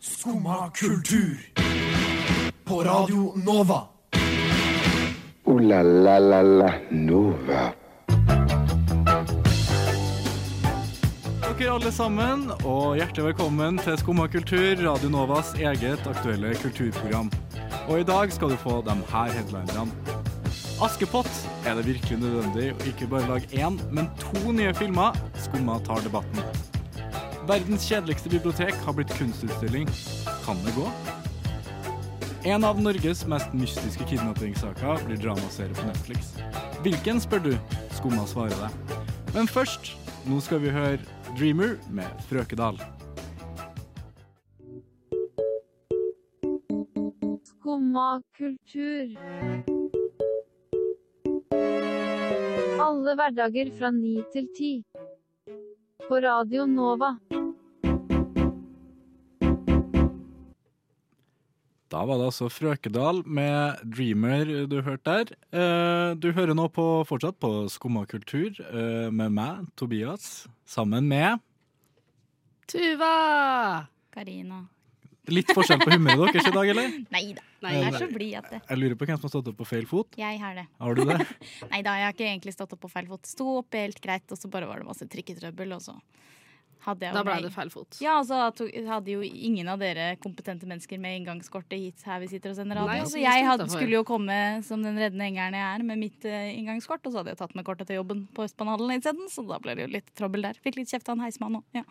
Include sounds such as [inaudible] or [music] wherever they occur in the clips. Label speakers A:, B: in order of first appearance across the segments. A: Skumma kultur. På Radio Nova.
B: Ooh la la la la Nova.
C: dere alle sammen, og hjertelig velkommen til Skumma kultur, Radio Novas eget aktuelle kulturprogram. Og i dag skal du få de her headlinerne. Askepott er det virkelig nødvendig å ikke bare lage én, men to nye filmer. Skumma tar debatten. Verdens kjedeligste bibliotek har blitt kunstutstilling. Kan det gå? En av Norges mest mystiske kidnappingssaker blir dramaserie på Netflix. Hvilken, spør du? Skumma svarer deg. Men først, nå skal vi høre Dreamer med Frøkedal.
D: Skumma kultur. Alle hverdager fra 9 til 10. På Radio Nova.
C: Da var det altså Frøkedal med Dreamer du hørte der. Eh, Du hører nå på, fortsatt på Skumma kultur eh, med meg, Tobias, sammen med
E: Tuva! Karina.
C: Litt forskjell på humøret deres i dag, eller?
E: Nei da.
F: Nei,
E: Jeg
C: nei.
E: er så blid at det.
C: Jeg lurer på hvem som har stått opp på feil fot.
E: Jeg har det.
C: Har du det?
E: Nei da, jeg har ikke egentlig stått opp på feil fot. Sto opp helt greit, og så bare var det masse trikketrøbbel, og så hadde jeg
F: Da
E: jo
F: ble
E: meg-
F: det feil fot.
E: Ja, og så tok- hadde jo ingen av dere kompetente mennesker med inngangskortet hit her vi sitter og sender radio.
F: Nei, altså,
E: så
F: vi
E: jeg
F: sto
E: hadde,
F: utenfor.
E: skulle jo komme som den reddende engelen jeg er med mitt eh, inngangskort, og så hadde jeg tatt med kortet til jobben på Østbanehallen isteden, så da ble det jo litt trøbbel der. Fikk litt kjeft av en heismann òg. Ja.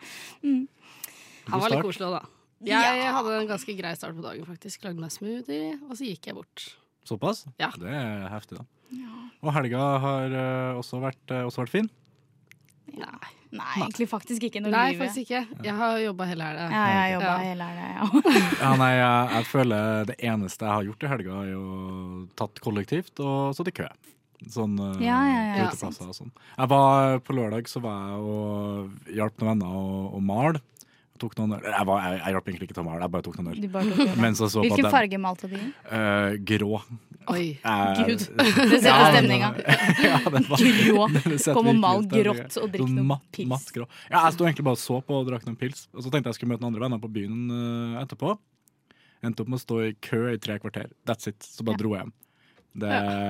E: Mm.
F: [laughs] Han var litt
C: God start.
F: koselig òg, da. Jeg
E: Ja.
F: hadde en ganske grei start på dagen, faktisk. Lagde meg smoothie, og så gikk jeg bort.
C: Såpass?
F: Ja.
C: Det er heftig, da. Og helga har eh, også vært, eh, også vært fin.
F: Nei,
E: Nei, egentlig faktisk ikke noe
F: Nei
E: liv.
F: faktisk ikke. Jeg har jobba hele helga.
E: Ja, jeg jobba
F: Ja.
E: hele helga, jeg òg.
C: Ja, nei, jeg, jeg føler det eneste jeg har gjort i helga, er jo tatt kollektivt og stått i kø. Sånn eh,
E: Ja, ja,
C: på
F: ja.
C: uteplasser og sånn. Jeg var På lørdag så var jeg og hjalp noen venner å, å male. Jeg Tok noen øl. Jeg, var- jeg, jeg hjalp egentlig ikke til å male, jeg bare tok noen øl.
E: Du bare tok det.
C: Mens jeg så på
E: Hvilken
C: at den-
E: farge malte du i?
C: Eh, grå.
F: Oi.
C: Eh, [laughs]
F: Gud.
E: Du ser på
C: ja,
E: stemninga.
C: [laughs] ja, den var-
E: Grå.
C: [laughs] den setter
E: Kom og
C: virkelig
E: mal
C: stemninga.
E: grått og drikk
C: Sånn
E: noe
C: matt-
E: pils.
C: matt grå. Ja, jeg sto egentlig bare og så på og drakk noen pils. Og så tenkte jeg skulle møte noen andre venner på byen eh, etterpå. Endte opp med å stå i kø i tre kvarter. That's it. Så bare
E: Ja.
C: dro jeg hjem. Det,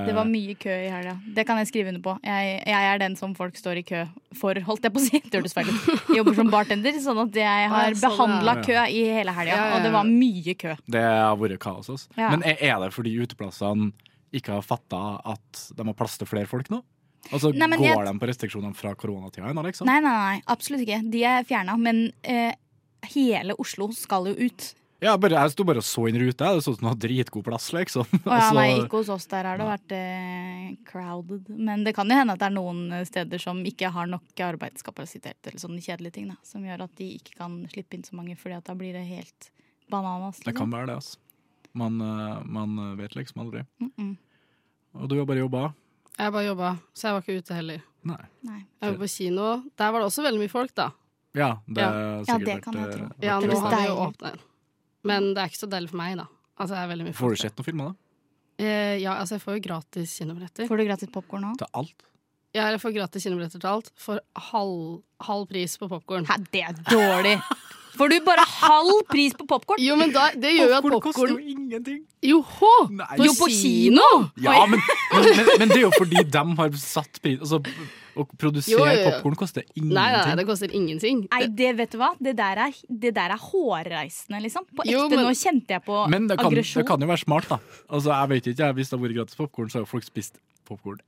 E: Det var mye kø i helga. Det kan jeg skrive under på. Jeg, jeg er den som folk står i kø for, holdt jeg på å si. [laughs] Det hørtes feil ut. Jeg Jobber som bartender, sånn at jeg
F: Å,
E: har
F: sånn,
E: behandla
C: ja.
E: kø i hele helga.
F: Ja, ja, ja.
E: Og det var mye kø.
C: det har vært kaos. Altså.
E: Ja.
C: Men er- er det fordi uteplassene ikke har fatta at de har plass til flere folk nå? Og så
E: Nei, men
C: går
E: jeg-
C: de på restriksjonene fra koronatida ennå, liksom?
E: Nei, nei, nei. Absolutt ikke. De er fjerna. Men eh, hele Oslo skal jo ut.
C: Ja, bare, jeg sto bare og så inn ruta. jeg. Det så ut som det var dritgod plass, liksom.
E: Og
C: [laughs] Og
E: ja,
C: så-
E: nei, ikke hos oss. Der har det vært eh, crowded. Men det kan jo hende at det er noen eh, steder som ikke har nok arbeidskapasitet, eller sånne kjedelige ting, da, som gjør at de ikke kan slippe inn så mange, fordi at da blir det helt bananas.
C: Det kan
E: Liksom.
C: være det, altså. Man, eh, man vet liksom aldri.
E: Mm -mm.
C: Og du har bare jobba?
F: [laughs] Jeg bare jobba, så jeg var ikke ute heller.
C: Nei.
E: Nei.
F: Jeg var på kino. Der var det også veldig mye folk, da.
C: Ja, det,
F: Ja.
C: har
E: Ja,
C: sikkert
E: det kan jeg
C: vært,
E: tro.
C: eh,
F: Ja,
C: vært
F: nå
C: trist.
F: har vi jo
E: Deilig.
F: åpna en. Men det er ikke så deilig for meg, da. Altså, det er veldig mye
C: Får du
F: folk der.
C: sett noen filmer, da?
F: Eh, ja, altså, jeg får jo gratis kinobilletter.
E: Får du gratis popkorn nå?
C: Til alt?
F: Ja, jeg får gratis kinobilletter til alt. For halv, halv pris på popkorn.
E: Hæ, det er dårlig! Får du bare halv pris på popkorn?
F: Jo, men da, det gjør jo at popkorn
C: ingenting!
F: Joho!
C: Nei.
F: På
E: Jo, på
F: kino!
C: Ja, men, men, men, men det er jo fordi de har satt pris Altså, å
F: Jo,
C: produsere
F: jo, jo.
C: popkorn koster ingenting.
F: Nei, nei, nei, det koster ingenting.
E: Nei, det vet du hva? Det der er, det der er hårreisende, liksom. På ekte,
F: Jo, men-
E: nå kjente jeg på
C: Men det kan,
E: aggresjon.
C: det kan jo være smart, da. Altså, jeg vet ikke, jeg, Hvis det har vært gratis popkorn, så har jo folk spist popkorn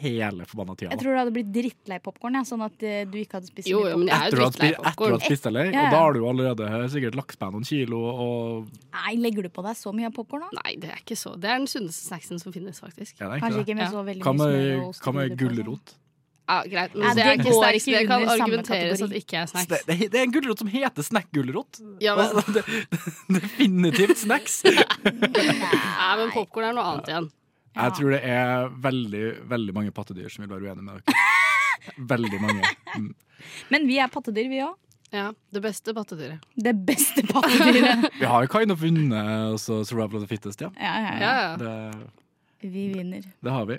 C: hele forbanna tida.
E: Jeg
C: da.
E: tror du hadde blitt drittlei popkorn, ja, sånn at eh, du ikke hadde spist så
F: Jo,
E: mye
F: jo, men jeg er
C: Etter
F: jo
C: å ha spi-
F: drittlei
C: etter å ha
F: popkorn.
C: spist eller?
E: Ja, ja.
C: Og da har du jo allerede eh, sikkert lagt på deg noen kilo og
E: Nei, legger du på deg så mye popkorn nå?
F: Nei, det er ikke så Det er den sunneste snacksen som finnes, faktisk.
C: Ja, det er egentlig
E: Kanskje
C: det.
E: ikke med
F: Ja.
E: så veldig
C: Hva
E: mye smør og
C: med,
E: ost
C: hva
E: og krydder
C: med
E: på, sånn.
C: gulrot?
F: Ja, greit, men
E: Nei,
F: det er
E: det
F: ikke
E: går
F: snacks.
E: ikke
F: Det kan
E: under samme
F: argumenteres at
E: kategori.
F: det ikke er
C: Det,
F: snacks.
C: det, det er en gulrot som heter snack-gulrot.
F: Ja, men-
C: Altså, det- [laughs] det- Definitivt
E: [laughs]
C: snacks.
F: Nei, men popkorn er noe annet igjen.
C: Jeg tror det er veldig veldig mange pattedyr som vil være uenige med dere. [laughs] Veldig mange. Mm.
E: Men vi er pattedyr, vi òg.
F: Ja, Det beste pattedyret.
E: Det
F: [laughs]
E: beste pattedyret.
C: Vi har jo kind of vunnet altså, Survival of the Fittest, ja.
E: ja, ja, ja.
F: Ja, ja.
C: Det,
E: Vi vinner.
C: det har vi.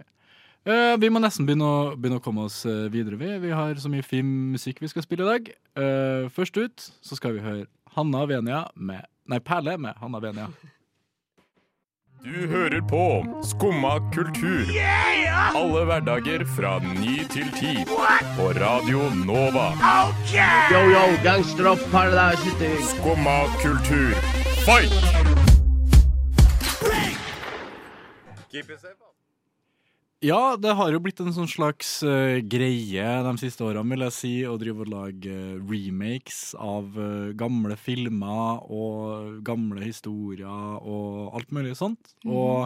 C: Eh, vi må nesten begynne å, begynne å komme oss eh, videre. Vi, vi har så mye fin musikk vi skal spille i dag. Eh, først ut så skal vi høre Hanna Venia med Nei, Perle med Hanna Benia.
G: Du hører på Skumma kultur. Alle hverdager fra ny til ti. På Radio Nova.
H: Yo, yo, gangsterrock, paradiseting.
G: Skumma kultur. Fight!
C: Ja, det har jo blitt en sånn slags eh, greie de siste årene, vil jeg si, å drive og lage eh, remakes av eh, gamle filmer og gamle historier og alt mulig sånt.
E: Mm.
C: Og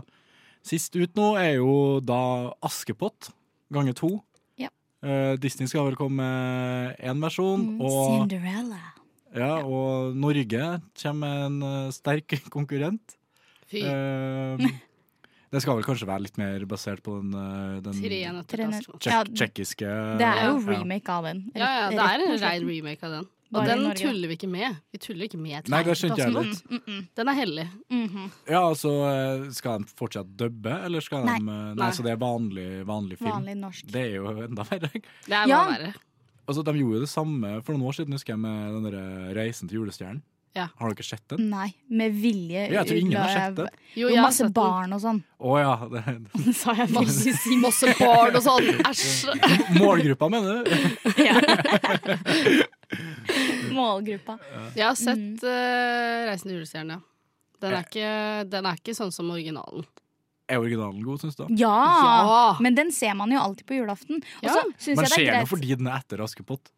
C: sist ut nå er jo da Askepott ganger to.
E: Ja.
C: Eh, Disney skal vel komme med én versjon,
E: Mm,
C: og,
E: Cinderella.
C: ja, og Norge kommer med en eh, sterk [laughs] konkurrent.
F: Fy.
E: [laughs]
C: Eh, det skal vel kanskje være litt mer basert på den, eh,
F: Tre
C: den
F: nøtter til
E: Tre
F: Askepott.
C: Tsjek-
E: Ja,
C: Tsjekkiske
E: Det er jo
C: Eh, ja.
E: remake av den.
F: Ja, ja, det er en rein remake av den. Og
E: Bare i
F: den
E: Norge. Mm,
F: tuller vi ikke med. Vi tuller ikke
C: Nei,
F: med
C: det
F: Askepott,
C: skjønte jeg
F: altså.
C: litt.
F: Den er hellig.
E: Mhm.
C: Ja, altså, eh, Skal de fortsatt dubbe, eller skal de
E: Nei.
C: eh, nei.
F: Nei.
C: så det er vanlig, vanlig film?
E: Vanlig norsk.
C: Det er jo enda verre. [laughs]
F: Det er
E: Ja.
F: bare verre.
C: Altså, De gjorde jo det samme for noen år siden, husker jeg, med den der eh, Reisen til julestjernen.
F: Ja.
C: Har dere sett den?
E: Nei, med vilje.
C: Jeg tror ingen har
E: la jeg-
C: sett den.
F: Jo,
E: Jo,
F: jeg har
E: masse
F: sett den.
E: barn og sånn. [laughs]
C: Å ja. Det,
E: Sa
F: [laughs]
E: jeg
F: Masse,
E: masse
F: masse barn og sånn. Æsj.
C: [laughs] målgruppa, mener du? [laughs]
E: målgruppa.
F: Jeg har
E: Mhm.
F: sett eh, Reisen til julestjernen, ja. Den
C: Eh.
F: er, ikke, den er ikke sånn som originalen.
C: Er originalen god, syns du?
E: Ja,
F: Ja.
E: men den ser man jo alltid på julaften. Og
F: Ja.
E: så syns
C: Man
E: jeg det
C: ser
E: er
C: den
E: greit.
C: fordi den er etter Askepott.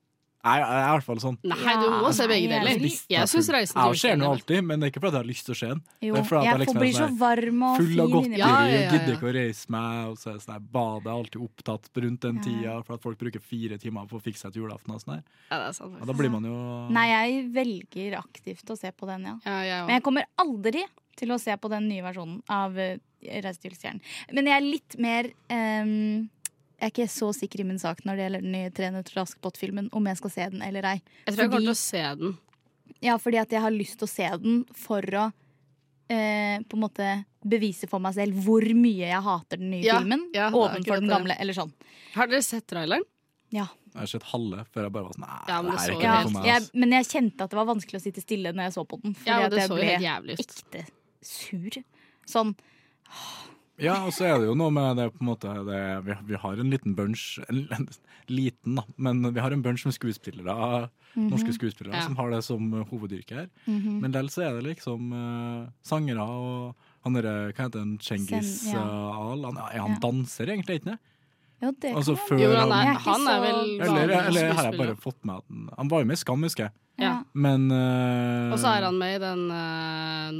C: Nei, jeg er i hvert fall sånn.
F: Nei,
E: Ja.
F: du må se begge
E: Nei, jeg er
F: deler.
E: litt-
F: Jeg syns Reisen til
C: Jeg ser den jo
F: julestjernen
C: alltid, men det er ikke fordi jeg har lyst til å se den.
E: Jo,
C: Det er fordi at
E: jeg
C: det liksom er
E: får- blir så
C: sånn
E: varm og
C: Full av
E: fin
C: godteri,
E: inni
F: Ja, ja,
E: meg.
F: ja, ja.
C: gidder ikke å reise meg. Og så er det sånn her, badet er alltid opptatt rundt den
E: Ja.
C: tida, for at folk bruker fire timer på å fikse seg til julaften. og sånn her.
F: Ja, det er sant.
C: Ja, da
F: faktisk.
C: blir man jo
E: Nei, jeg velger aktivt å se på den, ja.
F: Ja, jeg
E: Men
F: òg.
E: jeg kommer aldri til å se på den nye versjonen av eh, Reise til julestjernen. Men jeg er litt mer ehm, jeg er ikke så sikker i min sak når det gjelder den nye 'Tre nøtter til Askepott'-filmen, om jeg skal se den eller ei.
F: Jeg tror jeg
E: fordi-
F: kommer til å se den.
E: Ja, fordi at jeg har lyst til å se den for å eh, på en måte bevise for meg selv hvor mye jeg hater den nye
F: Ja,
E: filmen
F: ja, det er
E: overfor
F: akkurat
E: den
F: det.
E: gamle. Eller sånn.
F: Har dere sett traileren?
E: Ja.
C: Jeg har sett halve før jeg bare var sånn Nei,
F: Ja, men
C: det
F: det
C: er
F: så
C: ikke
F: jo
E: ja
C: noe
F: helt-
C: for meg.
E: jeg,
C: ass.
E: men jeg kjente at det var vanskelig å sitte stille når jeg så på den. Fordi
F: Ja, og
E: at
F: det
E: jeg
F: så jo
E: ble
F: helt jævlig ut.
E: ekte sur. Sånn.
C: Ja, og så er det jo noe med det på en måte det, vi, vi har en liten bunch en, en, Liten, da, men vi har en bunch med skuespillere, norske skuespillere,
F: Ja.
C: som har det som eh, hovedyrke her.
E: mhm.
C: Men likevel så er det liksom eh, sangere og han derre Hva heter han? Cengiz
E: Sen- ja.
C: eh, Al? Han, er han
E: Ja.
C: danser, egentlig, ikke det?
E: Jo, det kan
C: Altså,
E: man-
C: før
F: Jo,
C: han-
F: han er,
E: Jeg er ikke
F: han er
E: så-
F: vel
C: Eller,
F: vanlig
C: eller har jeg bare
F: skuespiller.
C: fått med at han, han var jo med i Skam, husker jeg.
E: ja.
F: Ja.
C: Men eh,
F: Og så er han med i den eh,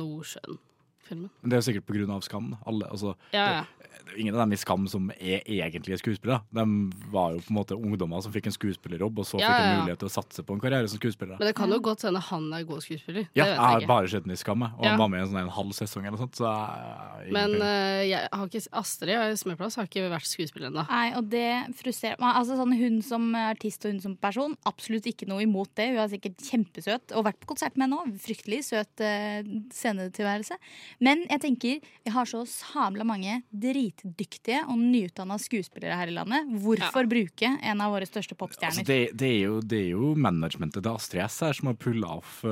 F: Nordsjøen-filmen.
C: eh, Det er jo sikkert pga. Skam. da. Alle, altså,
F: Ja, ja.
C: det er jo ingen av dem i Skam som er egentlige skuespillere. De var jo på en måte ungdommer som fikk en skuespillerjobb, og så
F: Ja,
C: fikk de
F: ja, ja.
C: mulighet til å satse på en karriere som skuespillere.
F: Men det kan jo godt hende han er god skuespiller.
C: Ja, jeg
F: det vet jeg
C: har
F: ikke.
C: bare sett den i Skam, jeg, og
F: Ja.
C: han var med i en, sånn, en halv sesong eller noe sånt. Så jeg, jeg-
F: Men eh, jeg har ikke, Astrid Smeplass har ikke vært skuespiller ennå.
E: Nei, og det frustrerer meg. Altså, sånn, hun som artist og hun som person, absolutt ikke noe imot det. Hun er sikkert kjempesøt og vært på konsert med henne òg. Fryktelig søt eh, scenetilværelse. Men jeg tenker, vi har så samla mange dritdyktige og nyutdanna skuespillere her i landet. Hvorfor bruke en av våre største
C: Altså,
E: popstjerner?
C: det, det, er jo, det er jo managementet til Astrid S her som har pulla off eh,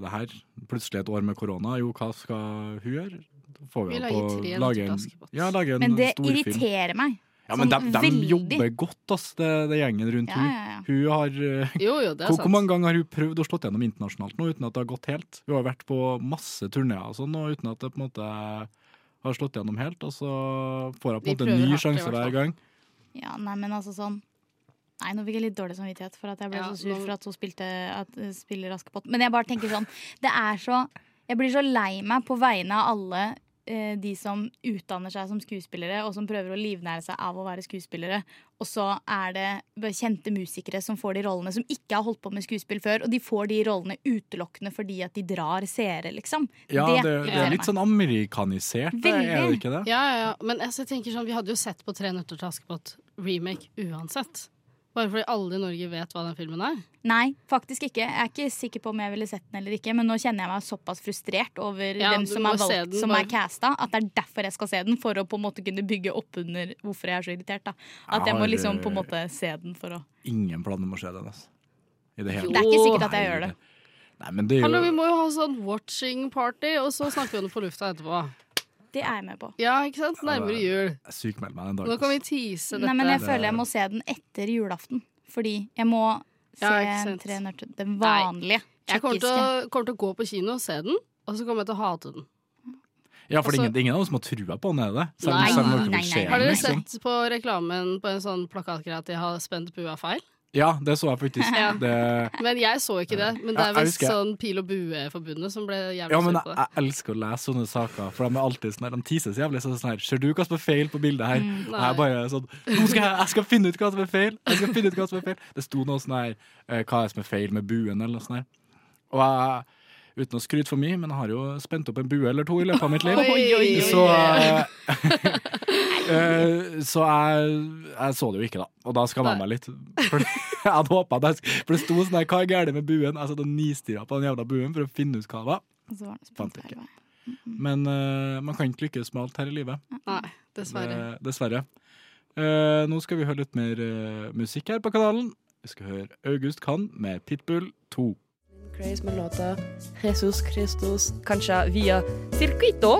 C: det her. Plutselig et år med korona. Jo, hva skal hun gjøre? Da Får
F: Vi
C: jo
F: lager
C: på-
F: tre nøtter
C: lage
F: til
C: en,
F: Askepott.
C: ja, lage en
E: Men det
C: storfilm.
E: irriterer meg.
C: Ja, men de,
E: sånn
C: de
E: veldig.
C: jobber godt, ass, det, det gjengen rundt
E: Ja, ja, ja.
C: hun. Hun har eh,
F: Jo, jo, det er
C: hvor, hvor mange
F: sant.
C: ganger har hun prøvd å slått gjennom internasjonalt nå uten at det har gått helt? Hun har vært på masse turneer og sånn, og uten at det på en måte har slått gjennom helt. Og så får hun på
F: De
C: en måte
F: prøver
C: en ny
F: hardt, i
C: sjanse
F: hvert fall.
C: hver gang.
E: Ja, nei, men altså sånn Nei, nå fikk jeg litt dårlig samvittighet for at jeg ble
F: Ja,
E: så sur
F: nå-
E: for at hun spilte at, eh, spiller Askepott. Men jeg bare tenker sånn Det er så Jeg blir så lei meg på vegne av alle eh, de som utdanner seg som skuespillere, og som prøver å livnære seg av å være skuespillere. Og så er det bare kjente musikere som får de rollene, som ikke har holdt på med skuespill før, og de får de rollene utelukkende fordi at de drar seere, liksom.
C: Ja, det, det
E: irriterer
C: er litt
E: meg.
C: sånn amerikanisert, det, er det
E: Veldig.
C: ikke det?
F: Ja, ja, ja. Men altså, jeg tenker sånn, vi hadde jo sett på Tre nøtter til Askepott remake uansett. Bare fordi alle i Norge vet hva den filmen er.
E: Nei, faktisk ikke. Jeg er ikke sikker på om jeg ville sett den eller ikke, men nå kjenner jeg meg såpass frustrert over
F: Ja,
E: hvem
F: du
E: som
F: må
E: er
F: se
E: valgt
F: den
E: som
F: bare-
E: er casta, at det er derfor jeg skal se den, for å på en måte kunne bygge opp under hvorfor jeg er så irritert. da. At jeg må
C: Har,
E: liksom på en
C: eh,
E: måte se den for å
C: Ingen planer om å se den, altså. I det hele
E: Det er ikke sikkert at jeg gjør det.
C: Nei, men det er
F: Hallo, vi
C: jo
F: må jo ha sånn watching party, og så snakker vi om det på lufta etterpå.
E: Det er jeg med på.
F: Ja, ikke sant? Nærmere jul.
C: Jeg sykmelder meg den
F: Nå kan vi
C: dagen.
F: tease dette.
E: Nei, men jeg føler jeg må se den etter julaften. Fordi jeg må se
F: Ja, ikke sant.
E: tre nøtter. Den vanlige.
F: Jeg kommer til,
E: tjekkiske.
F: å, kommer til å gå på kino og se den, og så kommer jeg til å hate den.
C: Ja, for det er
F: altså-
C: ingen, det er ingen av oss som har trua på den, er det det? Selv om-
F: Nei,
C: selv om dere
E: nei,
C: får
E: nei,
C: se
E: nei.
F: Har
C: den,
F: dere
C: liksom.
F: sett på reklamen på en sånn plakatgreie at de har spent bua feil?
C: Ja, det så jeg faktisk.
F: [laughs] Ja.
C: Det,
F: Men jeg så ikke det. Men det
C: Ja,
F: er
C: jeg
F: visst
C: husker-
F: sånn Pil og bue-forbundet som ble jævlig
C: ja, men
F: sur
C: jeg,
F: på det.
C: jeg elsker å lese sånne saker, for de er alltid sånn her, de teases jævlig så er det sånn her Ser du hva som er feil på bildet her? og
F: Mm, Nei.
C: jeg bare er sånn Nå skal jeg, jeg skal finne ut hva som er feil! Jeg skal finne ut hva som er feil Det sto noe sånn her eh, Hva er det som er feil med buen, eller noe sånt her. Og jeg, uten å skryte for mye, men jeg har jo spent opp en bue eller to i løpet av mitt liv.
F: Oi, oi, oi.
C: Så, [laughs] eh, eh, så jeg, jeg så det jo ikke, da. Og da skamma jeg meg litt. For [laughs] jeg hadde håpet at jeg sk- For det sto sånn her, hva er galt med buen? Jeg satt og nistirra på den jævla buen for å finne ut hva det var.
E: Og så var den
C: eh, Fant
E: spent
C: ikke.
E: hele veien.
F: Mm.
C: Men eh, man kan ikke lykkes med alt her i livet.
F: Nei, dessverre.
C: Det- dessverre. Eh, nå skal vi høre litt mer eh, musikk her på kanalen. Vi skal høre August Kann med Pitbull 2.
I: Craze med låta Jesus Christus, kanskje via Circuito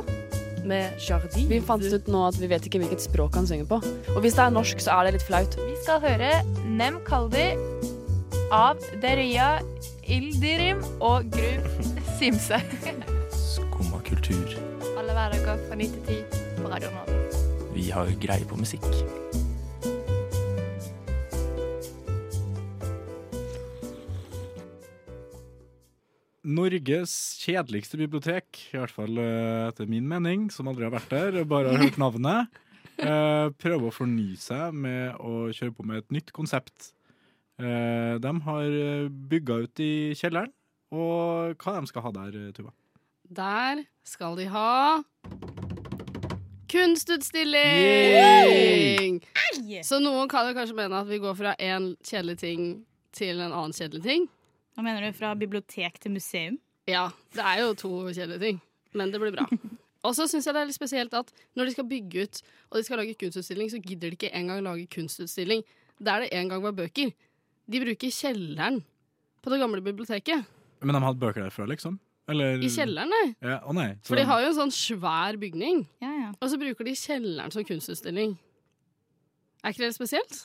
I: med Jardin. Vi fant ut nå at vi vet ikke hvilket språk han synger på. Og hvis det er norsk, så er det litt flaut.
J: Vi skal høre Nem Kaldi av Deria Ildirim og Gru Simse.
K: Skumma kultur.
J: Alle hverdager fra 9 til 10 på Radio Nova.
K: Vi har greie på musikk.
C: Norges kjedeligste bibliotek, i hvert fall eh, etter min mening, som aldri har vært der, og bare har hørt
K: [laughs]
C: navnet. eh, prøver å fornye seg med å kjøre på med et nytt konsept. Eh, de har bygga ut i kjelleren, og hva de skal ha der, eh, Tuva?
F: Der skal de ha
C: Yay!
F: kunstutstilling! Så noen kan jo kanskje mene at vi går fra én kjedelig ting til en annen kjedelig ting.
E: Hva mener du? Fra bibliotek til museum?
F: Ja, det er jo to kjedelige ting, men det blir bra. Og så syns jeg det er litt spesielt at når de skal bygge ut og de skal lage kunstutstilling, så gidder de ikke engang lage kunstutstilling der det en gang var bøker. De bruker kjelleren på det gamle biblioteket.
C: Men de hadde bøker der før, liksom? Eller
F: I kjelleren, nei.
C: Ja, å nei. så
F: For de har jo en sånn svær bygning.
E: Ja, ja.
F: Og så bruker de kjelleren som kunstutstilling. Er ikke det litt spesielt?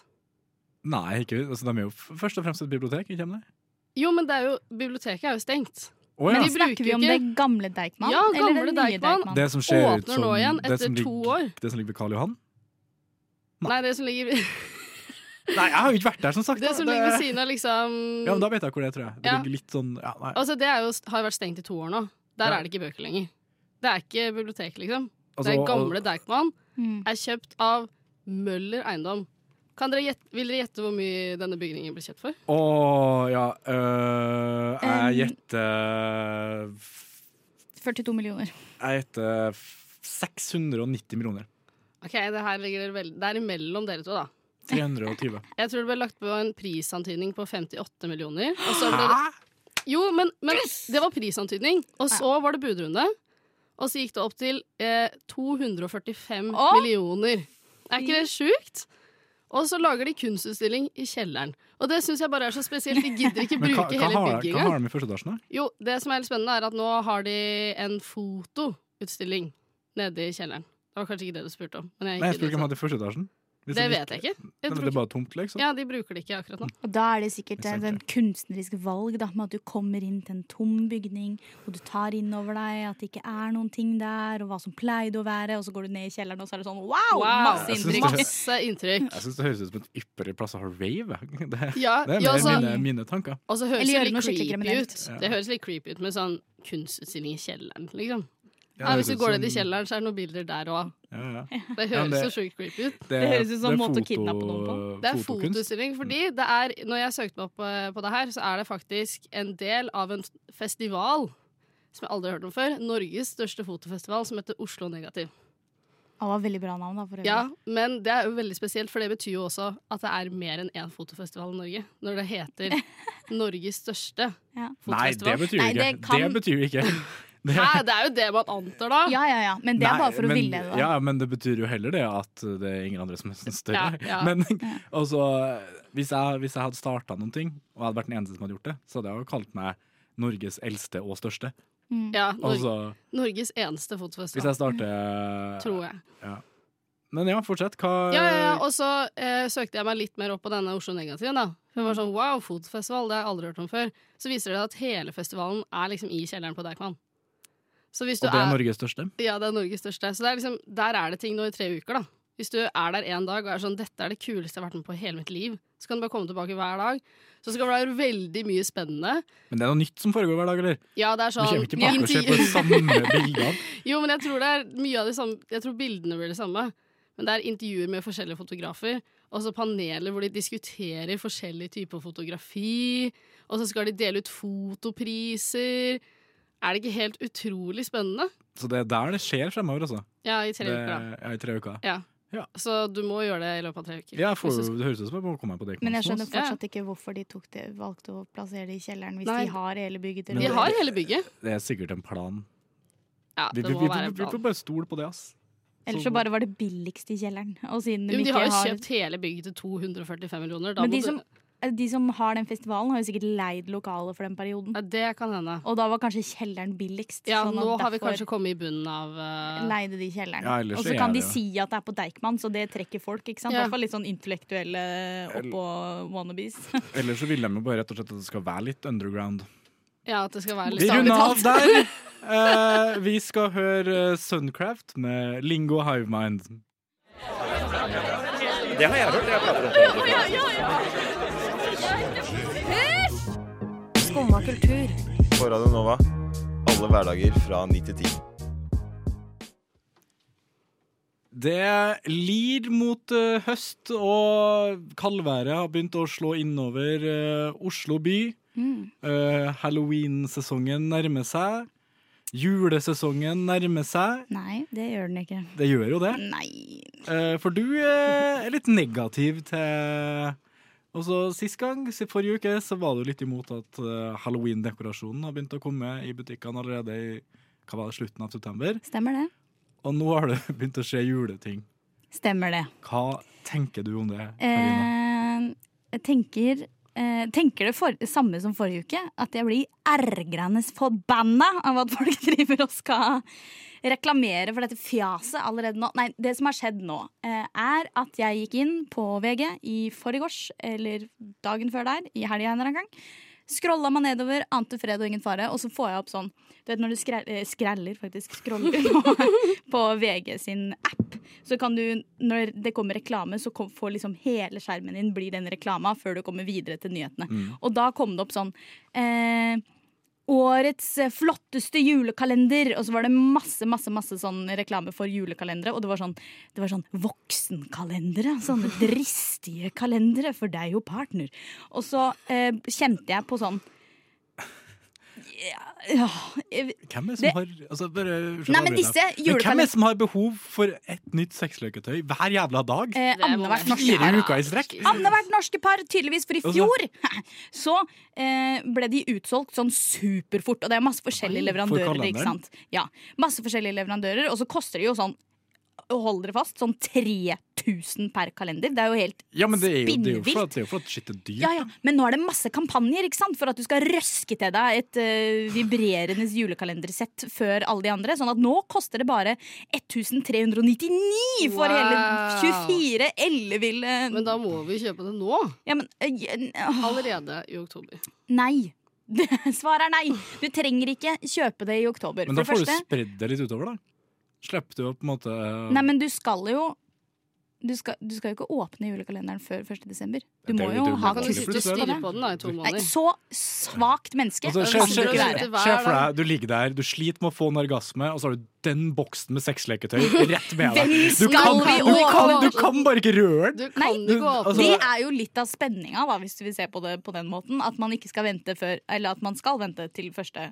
C: Nei, ikke, altså, de er jo f- først og fremst et bibliotek, ikke sant?
F: Jo, men det er jo, biblioteket er jo stengt.
C: Å
F: Men
C: ja.
F: de
E: Da snakker vi om
F: bruker
E: det
F: ikke-
E: gamle Deichman?
F: Ja,
E: eller
F: gamle
E: den nye
F: Deichman.
C: Det som ser ut
F: åpner
C: som
F: nå igjen
C: det som
F: etter to
C: ligger-
F: år.
C: Det som ligger ved Karl Johan? Nei.
F: Nei, det som ligger,
C: Nei, jeg har jo ikke vært der, som sagt.
F: [laughs] det
C: da.
F: som
C: Det-
F: ligger ved siden av, liksom
C: Ja, men da vet jeg hvor det er, tror jeg. Det
F: Ja.
C: ligger litt sånn ja, nei.
F: Altså, det er jo, har jo vært stengt i to år nå. Der
C: Ja.
F: er det ikke bøker lenger. Det er ikke bibliotek, liksom.
C: Altså,
F: det
C: og-
F: gamle Deichman
E: Mm.
F: er kjøpt av Møller Eiendom. Kan dere gjette, vil dere gjette hvor mye denne bygningen ble kjøpt for?
C: Å ja øh, Jeg
E: Um.
C: gjetter
E: 42 millioner.
C: Jeg gjetter 690 millioner.
F: Ok, Det her ligger dere vel- det er imellom dere to, da.
C: 320.
F: [laughs] Jeg tror det ble lagt på en prisantydning på 58 millioner. Og så ble det, jo, men, men det var prisantydning. Og så var det budrunde. Og så gikk det opp til eh, 245
E: Å!
F: millioner. Er ikke det sjukt? Og så lager de kunstutstilling i kjelleren. Og det syns jeg bare er så spesielt. De gidder ikke
C: [laughs] Men hva,
F: bruke
C: hva,
F: hele
C: har,
F: bygget
C: hva
F: engang.
C: har de i første etasjen, da?
F: Jo, det som er litt spennende, er at nå har de en fotoutstilling nede i kjelleren. Det var kanskje ikke det du spurte om. Men jeg
C: Nei, jeg
F: gikk
C: spurte
F: i
C: ikke om de hadde i første etasjen.
F: det, det vet jeg ikke. Jeg
C: Nei, men
F: tror
C: det er
F: ikke.
C: bare tomt, liksom.
F: Ja, De bruker det ikke akkurat nå.
E: Og da er det sikkert
C: Ikke sant,
E: et et kunstnerisk valg, da, med at du kommer inn til en tom bygning, og du tar inn over deg at det ikke er noen ting der, og hva som pleide å være, og så går du ned i kjelleren, og så er det sånn wow! Masse
C: Jeg synes
E: inntrykk.
C: det-
F: Masse
E: [laughs]
F: inntrykk.
C: Jeg syns det høres ut som et ypperlig plass å ha rave. [laughs] Det,
F: Ja,
C: det er
F: ja,
C: mer
F: altså,
C: mine, mine tanker.
F: og så høres
E: Eller
F: det
E: gjøre noe
F: litt creepy
E: skikkelig
F: ut.
E: kriminelt.
F: Det høres litt creepy ut med sånn kunstutstilling i kjelleren, liksom.
C: Ja,
F: Nei,
C: det
F: hvis du
C: høres ut
F: går
C: som-
F: ned i kjelleren, så er det noen bilder der òg.
C: Ja, ja.
E: [laughs]
F: Det
C: Ja,
F: høres
C: men det-
F: så sjukt creepy ut.
C: Det,
E: høres ut som en
C: det er
E: måte å kidnappe noen på.
F: Det er
C: fotokunst.
F: fotoutstilling, fordi det er Når jeg søkte meg opp eh, på det her, så er det faktisk en del av en festival som jeg aldri har hørt om før. Norges største fotofestival, som heter Oslo Negativ.
E: Det var veldig bra navn, da, for øvrig.
F: Ja, men det er jo veldig spesielt, for det betyr jo også at det er mer enn én fotofestival i Norge. Når det heter
E: [laughs]
F: Norges største
C: Nei,
E: Ja.
C: det
F: fotofestival.
C: betyr
E: Nei,
C: ikke.
E: det kan-
C: Det betyr ikke. Det-
F: [laughs] Hæ, det er jo det man antar, da.
E: Ja, ja, ja. Men det er
C: Nei,
E: bare for å
C: men,
E: ville det.
C: Ja, men det betyr jo heller det at det er ingen andre
F: [laughs]
C: som er sånn større.
F: Ja, ja.
C: Men [laughs] altså, hvis jeg, hvis jeg hadde starta noen ting, og jeg hadde vært den eneste som hadde gjort det, så hadde jeg jo kalt meg Norges eldste og største.
F: Mm. Ja, Nor-
C: altså,
F: Norges eneste fotfestival.
C: hvis jeg starter
F: Tror jeg.
C: Ja. Men ja, fortsett. Hva
F: Ja, ja, ja. Og så eh, søkte jeg meg litt mer opp på denne Oslo Negativen. da. Hun var sånn wow, fotfestival, det har jeg aldri hørt om før. Så viser det seg at hele festivalen er liksom i kjelleren på Deichman. Så hvis
C: Og
F: du
C: det er Norges største?
F: Ja, det er Norges største. Så det er liksom, der er det ting nå i tre uker, da. Hvis du er der en dag og er sånn 'dette er det kuleste jeg har vært med på i hele mitt liv', så kan du bare komme tilbake hver dag. Så skal det være veldig mye spennende.
C: Men det er noe nytt som foregår hver dag, eller?
F: Ja, det er sånn
C: Vi kommer ikke tilbake og
F: [laughs]
C: ser på
F: inti-
C: de samme bildene.
F: Jo, men jeg tror det er mye av det samme Jeg tror bildene blir det samme. Men det er intervjuer med forskjellige fotografer, og så paneler hvor de diskuterer forskjellige typer fotografi, og så skal de dele ut fotopriser. Er det ikke helt utrolig spennende?
C: Så det er der det skjer fremover, altså.
F: Ja, i tre
C: det,
F: uker, da.
C: Ja, i tre uker.
F: Ja. Så du må gjøre det i løpet av tre uker.
C: Ja, jeg får,
F: Hvis du
C: det høres ut som jeg må komme meg på det.
E: Men jeg skjønner
F: Ja.
E: fortsatt ikke hvorfor de tok det, valgte å plassere det i kjelleren hvis
F: Nei.
E: de har hele bygget. til
C: Men det-
E: rådighet.
F: har hele bygget.
C: Det er sikkert en plan.
F: Ja,
C: vi,
F: det
C: vi,
F: må
C: vi,
F: være en
C: vi, vi
F: plan.
C: får bare stole på det, ass.
E: Ellers så bare var det billigst i kjelleren. Og siden
F: Jo,
E: de,
F: men de
E: ikke
F: har jo
E: har
F: kjøpt hele bygget til 245 millioner. Da
E: Men de
F: må
E: som, eh,
F: du...
E: de som har den festivalen, har jo sikkert leid lokalet for den perioden.
F: det kan hende.
E: Og da var kanskje kjelleren billigst.
F: Ja,
E: sånn at
F: nå har vi
E: derfor
F: kanskje kommet i bunnen av eh,
E: Leide de kjelleren.
C: Ja, ellers
E: og
C: så
E: så
C: er
E: kan de
C: det jo-
E: si at det er på Deichman, så det trekker folk. ikke sant? I
F: Ja.
E: hvert fall litt sånn intellektuelle oppå wannabes.
C: [laughs]
E: [laughs]
C: Ellers så vil de jo bare rett og slett at det skal være litt underground.
F: Ja, at det skal være litt
C: Vi runder av
F: Bokstavelig
C: der!
F: talt. [laughs]
C: Eh, vi skal høre eh, Suncraft med Lingo Hivemind.
L: Det har jeg hørt, jeg prater om
M: Skumma kultur.
N: På Radio Nova. Alle hverdager fra 9 til 10.
C: Det lir mot eh, høst, og kaldværet har begynt å slå innover eh, Oslo by.
E: Mm.
C: Eh, Halloween-sesongen nærmer seg. Julesesongen nærmer seg.
E: Nei, det gjør den ikke.
C: Det gjør jo det.
E: Nei.
C: Eh, for du eh, er litt negativ til Og så Sist gang, si- forrige uke, så var du litt imot at eh, halloween-dekorasjonen har begynt å komme i butikkene allerede i hva var det, slutten av september.
E: Stemmer det?
C: Og nå har det [laughs] begynt å skje juleting.
E: Stemmer det.
C: Hva tenker du om det? Karina?
E: Eh, jeg tenker eh, tenker det for, samme som forrige uke, at jeg blir ergrende forbanna av at folk [laughs] driver og skal reklamere for dette fjaset allerede nå. Nei, det som har skjedd nå, eh, er at jeg gikk inn på VG i forgårs, eller dagen før der, i helga en eller annen gang. Scrolla meg nedover, ante fred og ingen fare, og så får jeg opp sånn Du vet når du skre- eh, skreller, faktisk, scroller på, [laughs] på VG sin app, så kan du, når det kommer reklame, så kom, får liksom hele skjermen din blir den reklama før du kommer videre til nyhetene.
O: Mm.
E: Og da kom det opp sånn eh, Årets eh, flotteste julekalender! Og så var det masse masse, masse sånn reklame for julekalendere. Og det var sånn, det var sånn voksenkalendere. Sånne dristige kalendere for deg og partner. Og så eh, kjente jeg på sånn ja, ja,
C: Hvem er det som
E: det-
C: har altså bare, unnskyld,
E: Nei, men
C: avbryter jeg.
E: disse
C: men Hvem er
E: julekalender-
C: det som har behov for et nytt sexløketøy hver jævla dag?
E: Eh, Annethvert norske
C: Fire uker i strekk?
E: Annethvert norske par, tydeligvis, for i
C: Altså-
E: fjor [laughs] så eh, ble de utsolgt sånn superfort. Og det er masse forskjellige
O: Oi, for
E: leverandører. ikke
O: kalenderen.
E: sant? Ja, masse forskjellige leverandører, og så koster det jo sånn Hold dere fast, sånn 3000 per kalender. Det er jo helt
C: Ja, men det er jo, det er jo
E: spinnvilt.
C: for at, det er jo for at shit er dyrt.
E: Ja, ja. Men nå er det masse kampanjer ikke sant? for at du skal røske til deg et eh, vibrerende julekalendersett før alle de andre. Sånn at nå koster det bare 1399
F: Wow.
E: for hele 24 elleville
F: Men da må vi kjøpe det nå.
E: Ja, men, eh, j- åh.
F: Allerede i oktober.
E: Nei. [laughs] Svaret er nei. Du trenger ikke kjøpe det i oktober.
C: Men da
E: For
C: får
E: det
C: du
E: første-
C: spredd det litt utover, da. Slipper du å på en måte eh,
E: Nei, men du skal jo du skal, du skal jo ikke åpne julekalenderen før 1. desember. Du
C: Det er
E: må
C: jo
E: jo
C: litt
E: ha
C: ulempe. Kan du sitte og
E: kryss
C: stirre
E: det.
F: på den da i to
E: Nei,
F: måneder?
E: Så svakt menneske
C: Altså, se,
E: kan du
C: se, se,
E: ikke være.
C: se for deg, du ligger der, du sliter med å få en orgasme, og så har du den boksen med
E: [laughs]
C: sexleketøy rett med deg.
E: Hvem
C: Du kan,
E: skal vi
C: du kan,
E: overraske?
C: du kan bare ikke røre den!
E: Nei,
C: Du- altså-
E: Det er jo litt av spenninga, da, hvis vi ser på det på den måten. At man ikke skal vente før Eller at man skal vente til 1.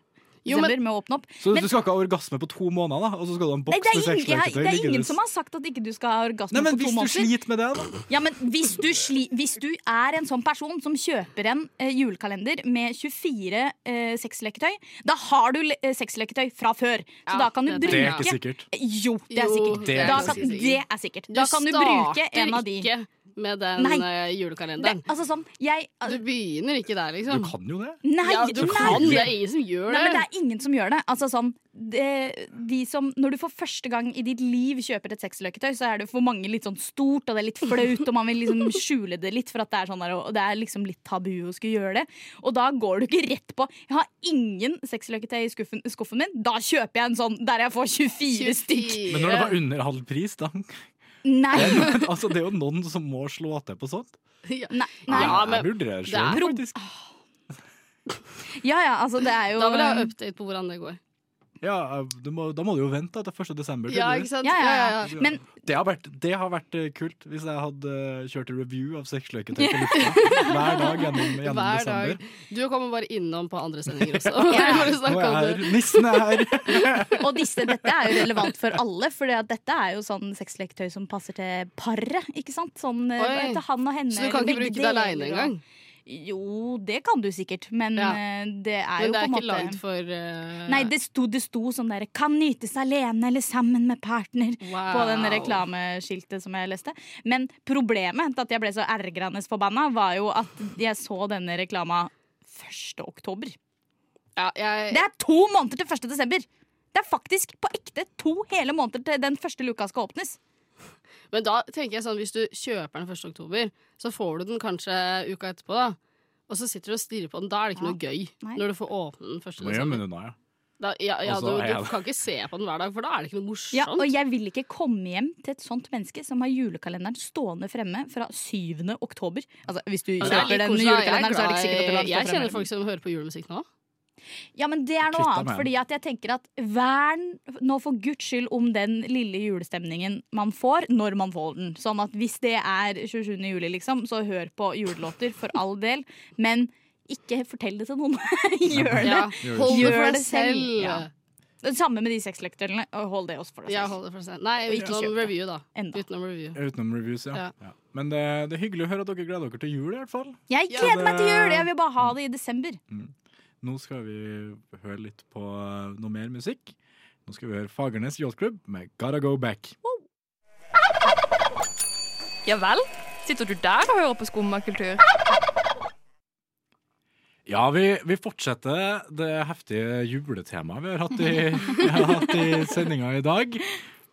C: Jo,
E: desember
C: men-
E: med å åpne opp.
C: Så
E: Men-
C: du skal ikke ha orgasme på to måneder, da? Og så skal du ha en
E: Nei,
C: boks
E: det er
C: med
E: ingen, jeg,
C: sexleketøy?
E: det er
C: liggende
E: ingen
C: rundt.
E: som har sagt at ikke du skal ha orgasme
C: Nei, men
E: på to
C: hvis du
E: måneder.
C: sliter med det, da?
E: Ja, men hvis du, sli, hvis du er en sånn person som kjøper en eh, julekalender med 24 eh, sexleketøy, da har du le- eh, sexleketøy fra før. Så
O: Ja,
E: da kan du
O: det
E: bruke
C: tror jeg. Det er ikke sikkert.
E: Jo, det er
F: Jo,
E: sikkert.
F: det er
E: da
F: ganske
E: kan,
F: sikkert.
E: det er sikkert. Da kan du bruke en av de.
F: starter ikke med den
E: Nei.
F: eh, julekalenderen.
E: altså sånn, jeg,
F: du begynner ikke der, liksom.
E: Sånn.
C: Du kan jo det.
E: Nei,
F: ja, du
E: nei.
F: kan det. er ingen som gjør
E: Nei,
F: det.
E: men det er ingen som gjør det. Altså sånn, det, de som, Når du for første gang i ditt liv kjøper et sexløketøy, så er det for mange litt sånn stort, og det er litt flaut, og man vil liksom
F: [laughs]
E: skjule det litt, for at det er sånn der, og det er liksom litt tabu å skulle gjøre det. Og da går du ikke rett på 'Jeg har ingen sexløketøy i skuffen, skuffen min', da kjøper jeg en sånn der jeg får 24 stykk.
C: Men når det var under halv pris,
E: [laughs]
C: da
E: Nei.
C: Det er, noen, altså, det er jo noen som må slå til på sånt.
E: Nei, nei.
C: Ja, jeg vurderer
F: det
C: selv.
F: er-
E: Ja, ja, altså det er jo
F: Da vil jeg ha update på hvordan det går.
C: Ja, eh, du må, da må du jo vente da, til 1. desember. tydeligvis.
F: Ja, ikke sant? Ja, ja, ja.
C: Du-
F: Men-
C: det, har vært, det har vært eh, kult hvis jeg hadde eh, kjørt en review av sexløketøy på
F: [laughs]
C: lufta hver dag gjennom, gjennom
F: Hver
C: desember.
F: dag. Du kommer bare innom på andre sendinger også.
E: Ja.
F: Bare snakke
C: Nå
F: om
C: er jeg
F: det.
C: her. Nissen er her! [laughs]
E: Og disse, dette er jo relevant for alle, for dette er jo sånn sexleketøy som passer til paret. Ikke sant? Sånn, eh,
F: Oi.
E: til han og henne.
F: Så du kan
E: eller
F: ikke bruke
E: begge
F: det
E: deler,
F: alene
E: og-
F: engang?
E: Jo, det kan du sikkert, men
F: Ja.
E: eh, det er
F: Men
E: jo
F: det er
E: på en
F: ikke
E: måte
F: lagd for eh,
E: Nei, det sto, det sto sånn derre 'kan nytes alene eller sammen med partner' på den reklameskiltet som jeg leste. Men problemet til at jeg ble så ergrende forbanna, var jo at jeg så denne reklama 1. oktober. Det er to måneder til 1. desember! Det er faktisk på ekte to hele måneder til den første luka skal åpnes.
F: Men da tenker jeg sånn, hvis du kjøper den 1. oktober, så får du den kanskje uka etterpå, da. Og så sitter du og stirrer på den. Da er det ikke
C: Ja.
F: noe gøy.
C: Nei.
F: Når du får åpne den
C: Må
F: 1.
C: gjemme
F: desember.
C: den unna, ja.
F: Da, ja, ja,
C: Og så
F: du,
C: Altså, er jeg-
F: du kan ikke se på den hver dag, for da er det ikke noe morsomt.
E: Ja, og jeg vil ikke komme hjem til et sånt menneske som har julekalenderen stående fremme fra 7. oktober. Altså, hvis du
F: Ja, det er
E: kjøper
F: litt
E: den
F: koselig, da. Jeg er
E: julekalenderen, så er det ikke sikkert at du
F: glad
E: lar
F: i-
E: den stå
F: Jeg
E: fremme.
F: kjenner folk som hører på julemusikk nå.
E: Ja, men det
F: Kvitt
E: er noe
F: deg
E: annet.
F: med
E: Fordi
F: den.
E: at jeg tenker at vern nå for guds skyld om den lille julestemningen man får når man får den. Sånn at hvis det er 27. juli, liksom, så hør på julelåter for all del. Men ikke fortell det til noen. [laughs] Gjør det.
F: Ja, hold det for
E: Gjør
F: deg selv.
E: Ja. Det samme med de sexleketøyene. Hold det også for deg
F: Ja,
E: selv.
F: hold det for deg selv. Nei,
E: Og ikke
F: utenom
E: kjøp det.
F: review, da. Utenom review.
C: Utenom reviews, ja.
F: Ja.
C: ja. Men det, det er hyggelig å høre at dere gleder dere til jul, i hvert fall.
E: Jeg
C: Ja,
E: gleder
C: det-
E: meg til jul! Jeg vil bare ha det i desember.
C: Nå skal vi høre litt på eh, noe mer musikk. Nå skal vi høre Fagernes Yachtklubb med Gotta Go Back.
L: Ja vel? Sitter du der og hører på skummakultur?
C: Ja, vi, vi fortsetter det heftige juletemaet vi har hatt
E: [laughs]
C: i, vi har hatt i sendinga i dag.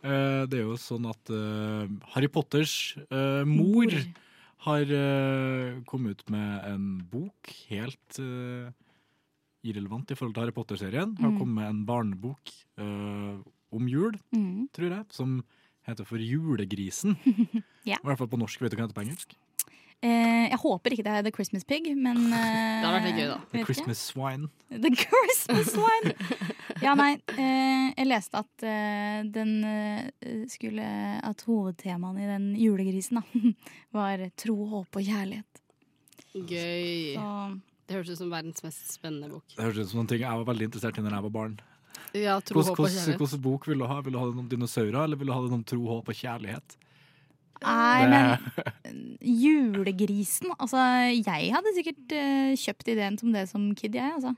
C: Eh, det er jo sånn at eh, Harry Potters eh, mor har eh, kommet ut med en bok helt eh, irrelevant i forhold til Harry Potter-serien. Har
M: Mm.
C: kommet med en barnebok eh, om jul,
M: Mm.
C: tror jeg, som heter for
E: [laughs]
C: Julegrisen.
E: Ja.
C: I hvert fall på norsk. Vet du hva den heter på engelsk?
E: Eh, jeg håper ikke det er The Christmas Pig, men
C: [laughs]
E: eh,
C: Det hadde vært litt gøy, da.
E: vet
C: The
E: ikke.
C: Christmas Swine.
E: The Christmas one! [laughs] Ja, nei, eh, jeg leste at eh, den eh, skulle At hovedtemaene i den julegrisen da, [laughs] var tro, håp og kjærlighet.
F: Gøy.
E: Så-
F: Det høres ut som verdens mest spennende bok.
C: Det høres ut som noen ting jeg var veldig interessert i da jeg var barn.
F: Ja, tro,
C: Hvordan-
F: håp og
C: hvordan-
F: kjærlighet.
C: hvordan bok vil du ha? Vil du ha den om dinosaurer, eller vil du ha den om tro, håp og kjærlighet?
E: Nei, men
C: Det- [laughs]
E: julegrisen Altså, jeg hadde sikkert eh, kjøpt ideen som det som kid, jeg, altså.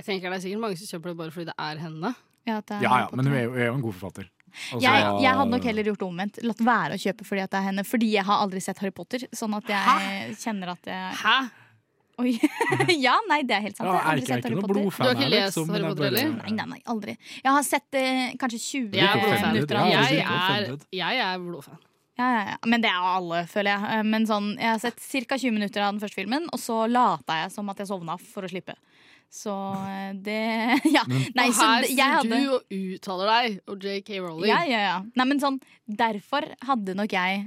F: Jeg tenker det er sikkert mange som kjøper det bare fordi det er henne.
E: Ja, at det er
C: ja, ja,
E: Harry
C: men hun
E: Potter.
C: er jo, er jo en god forfatter. Altså,
E: jeg, jeg hadde nok heller gjort det omvendt. Latt være å kjøpe fordi at det er henne. Fordi jeg har aldri sett Harry Potter. Sånn at jeg kjenner at jeg
F: Hæ?
E: Oi. [laughs] ja, nei, det er helt sant.
C: Ja,
E: jeg har
C: er
E: aldri
C: ikke-
E: sett
C: er ikke
E: Harry
C: noe
E: Potter.
C: blodfan Du har ikke her, lest liksom, men Harry jeg Potter bare- heller?
E: Nei, nei, nei, aldri. Jeg har sett eh, kanskje 20
C: Jeg er blodfan.
E: minutter av
C: Ja,
E: Harry
F: Jeg
C: Ikke
F: er,
C: offended.
F: jeg er blodfan.
E: ja, ja, ja. Men det er alle, føler jeg. Eh, Men sånn, jeg har sett ca. 20 minutter av den første filmen, og så lata jeg som at jeg sovna for å slippe. Så eh, det [laughs] Ja. Nei,
F: og
E: så
F: her
E: det- jeg hadde
F: sitter du og uttaler deg, og JK Rowling.
E: Ja, ja, ja. Nei, men sånn, derfor hadde nok jeg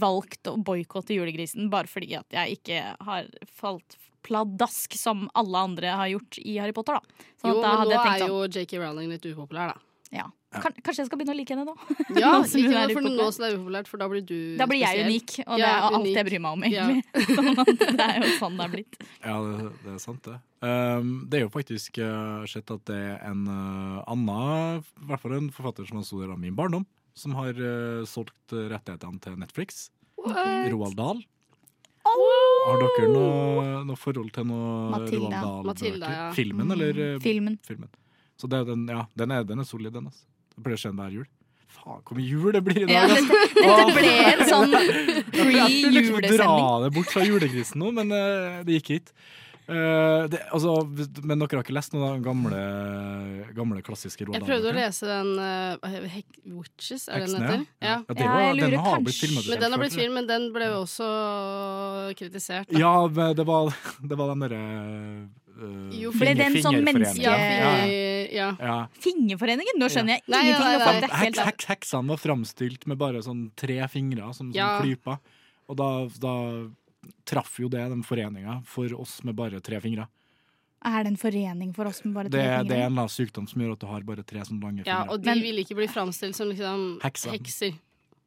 E: valgt å boikotte julegrisen, bare fordi at jeg ikke har falt pladask som alle andre har gjort i Harry Potter, da. Sånn at
F: jo,
E: da
F: men
E: hadde
F: nå
E: jeg
F: er
E: tenkt
F: jo
E: sånn.
F: JK Rowling litt
E: [laughs]
F: upopulær, da.
E: Ja. Kan, kanskje jeg skal begynne å like henne nå?
F: Ja,
E: Nå som
F: ikke
E: hun
F: noe
E: er
F: for
E: upopulær.
F: nå som det er upopulært, for da blir du
E: Da blir jeg
F: spesiell.
E: unik, og det
F: Ja,
E: er alt
F: unik.
E: jeg bryr meg om,
F: Ja. [laughs]
E: egentlig. [laughs] Sånn at det er jo sånn det er blitt.
C: Ja, det, det er sant, det. Um, det er jo faktisk uh, sett at det er en uh, annen, i hvert fall en forfatter som er en stor del av min barndom, som har uh, solgt uh, rettighetene til Netflix.
E: What?
C: Roald Dahl. Har dere noe, noe forhold til noe
E: Matilda.
C: Roald Dahl-bøker?
E: Matilda, ja.
C: Filmen,
E: Mm.
C: eller? uh,
E: Filmen.
C: Så det, er den, ja, den, er, den er solid, den. Altså. Jeg pleier å se den hver jul. Faen, hvor mye jul det blir i
E: Ja,
C: dag, ass.
F: [laughs]
E: dette- dette ble en sånn
C: [laughs] Jeg skulle liksom dra
E: pre-julesending.
C: det bort fra julekrisen nå, men eh, det gikk ikke. Eh, det, altså, men dere har ikke lest noen av de gamle, gamle klassiske rådene?
F: Jeg prøvde å
C: dere?
F: lese den eh, Hek Witches, er det den
C: Heksene,
F: heter?
C: ja. Ja, det Ja, var- jeg den lurer har blitt kanskje- filmatisert
F: Men den har
C: før,
F: blitt film, men den ble jo også kritisert. da.
C: Ja, men det var, [laughs] det var den derre eh,
F: Jo, ble den sånn menneske- Ja,
C: ja.
E: Fingerforeningen? Nå skjønner jeg
F: Nei,
E: ingenting.
F: nei,
E: om
F: nei.
E: hva det er.
C: Heks, heks, heksene var framstilt med bare sånn tre fingre som, som
E: Ja.
C: klyper. Og da, da traff jo det den foreninga for oss med bare tre fingre.
E: Er det en forening for oss med bare
C: Det,
E: tre
C: det er en
E: fingre?
C: eller annen sykdom som gjør at du har bare tre sånne lange
F: ja,
C: fingre.
F: og de vil ikke bli framstilt som liksom
C: Heksa.
F: hekser.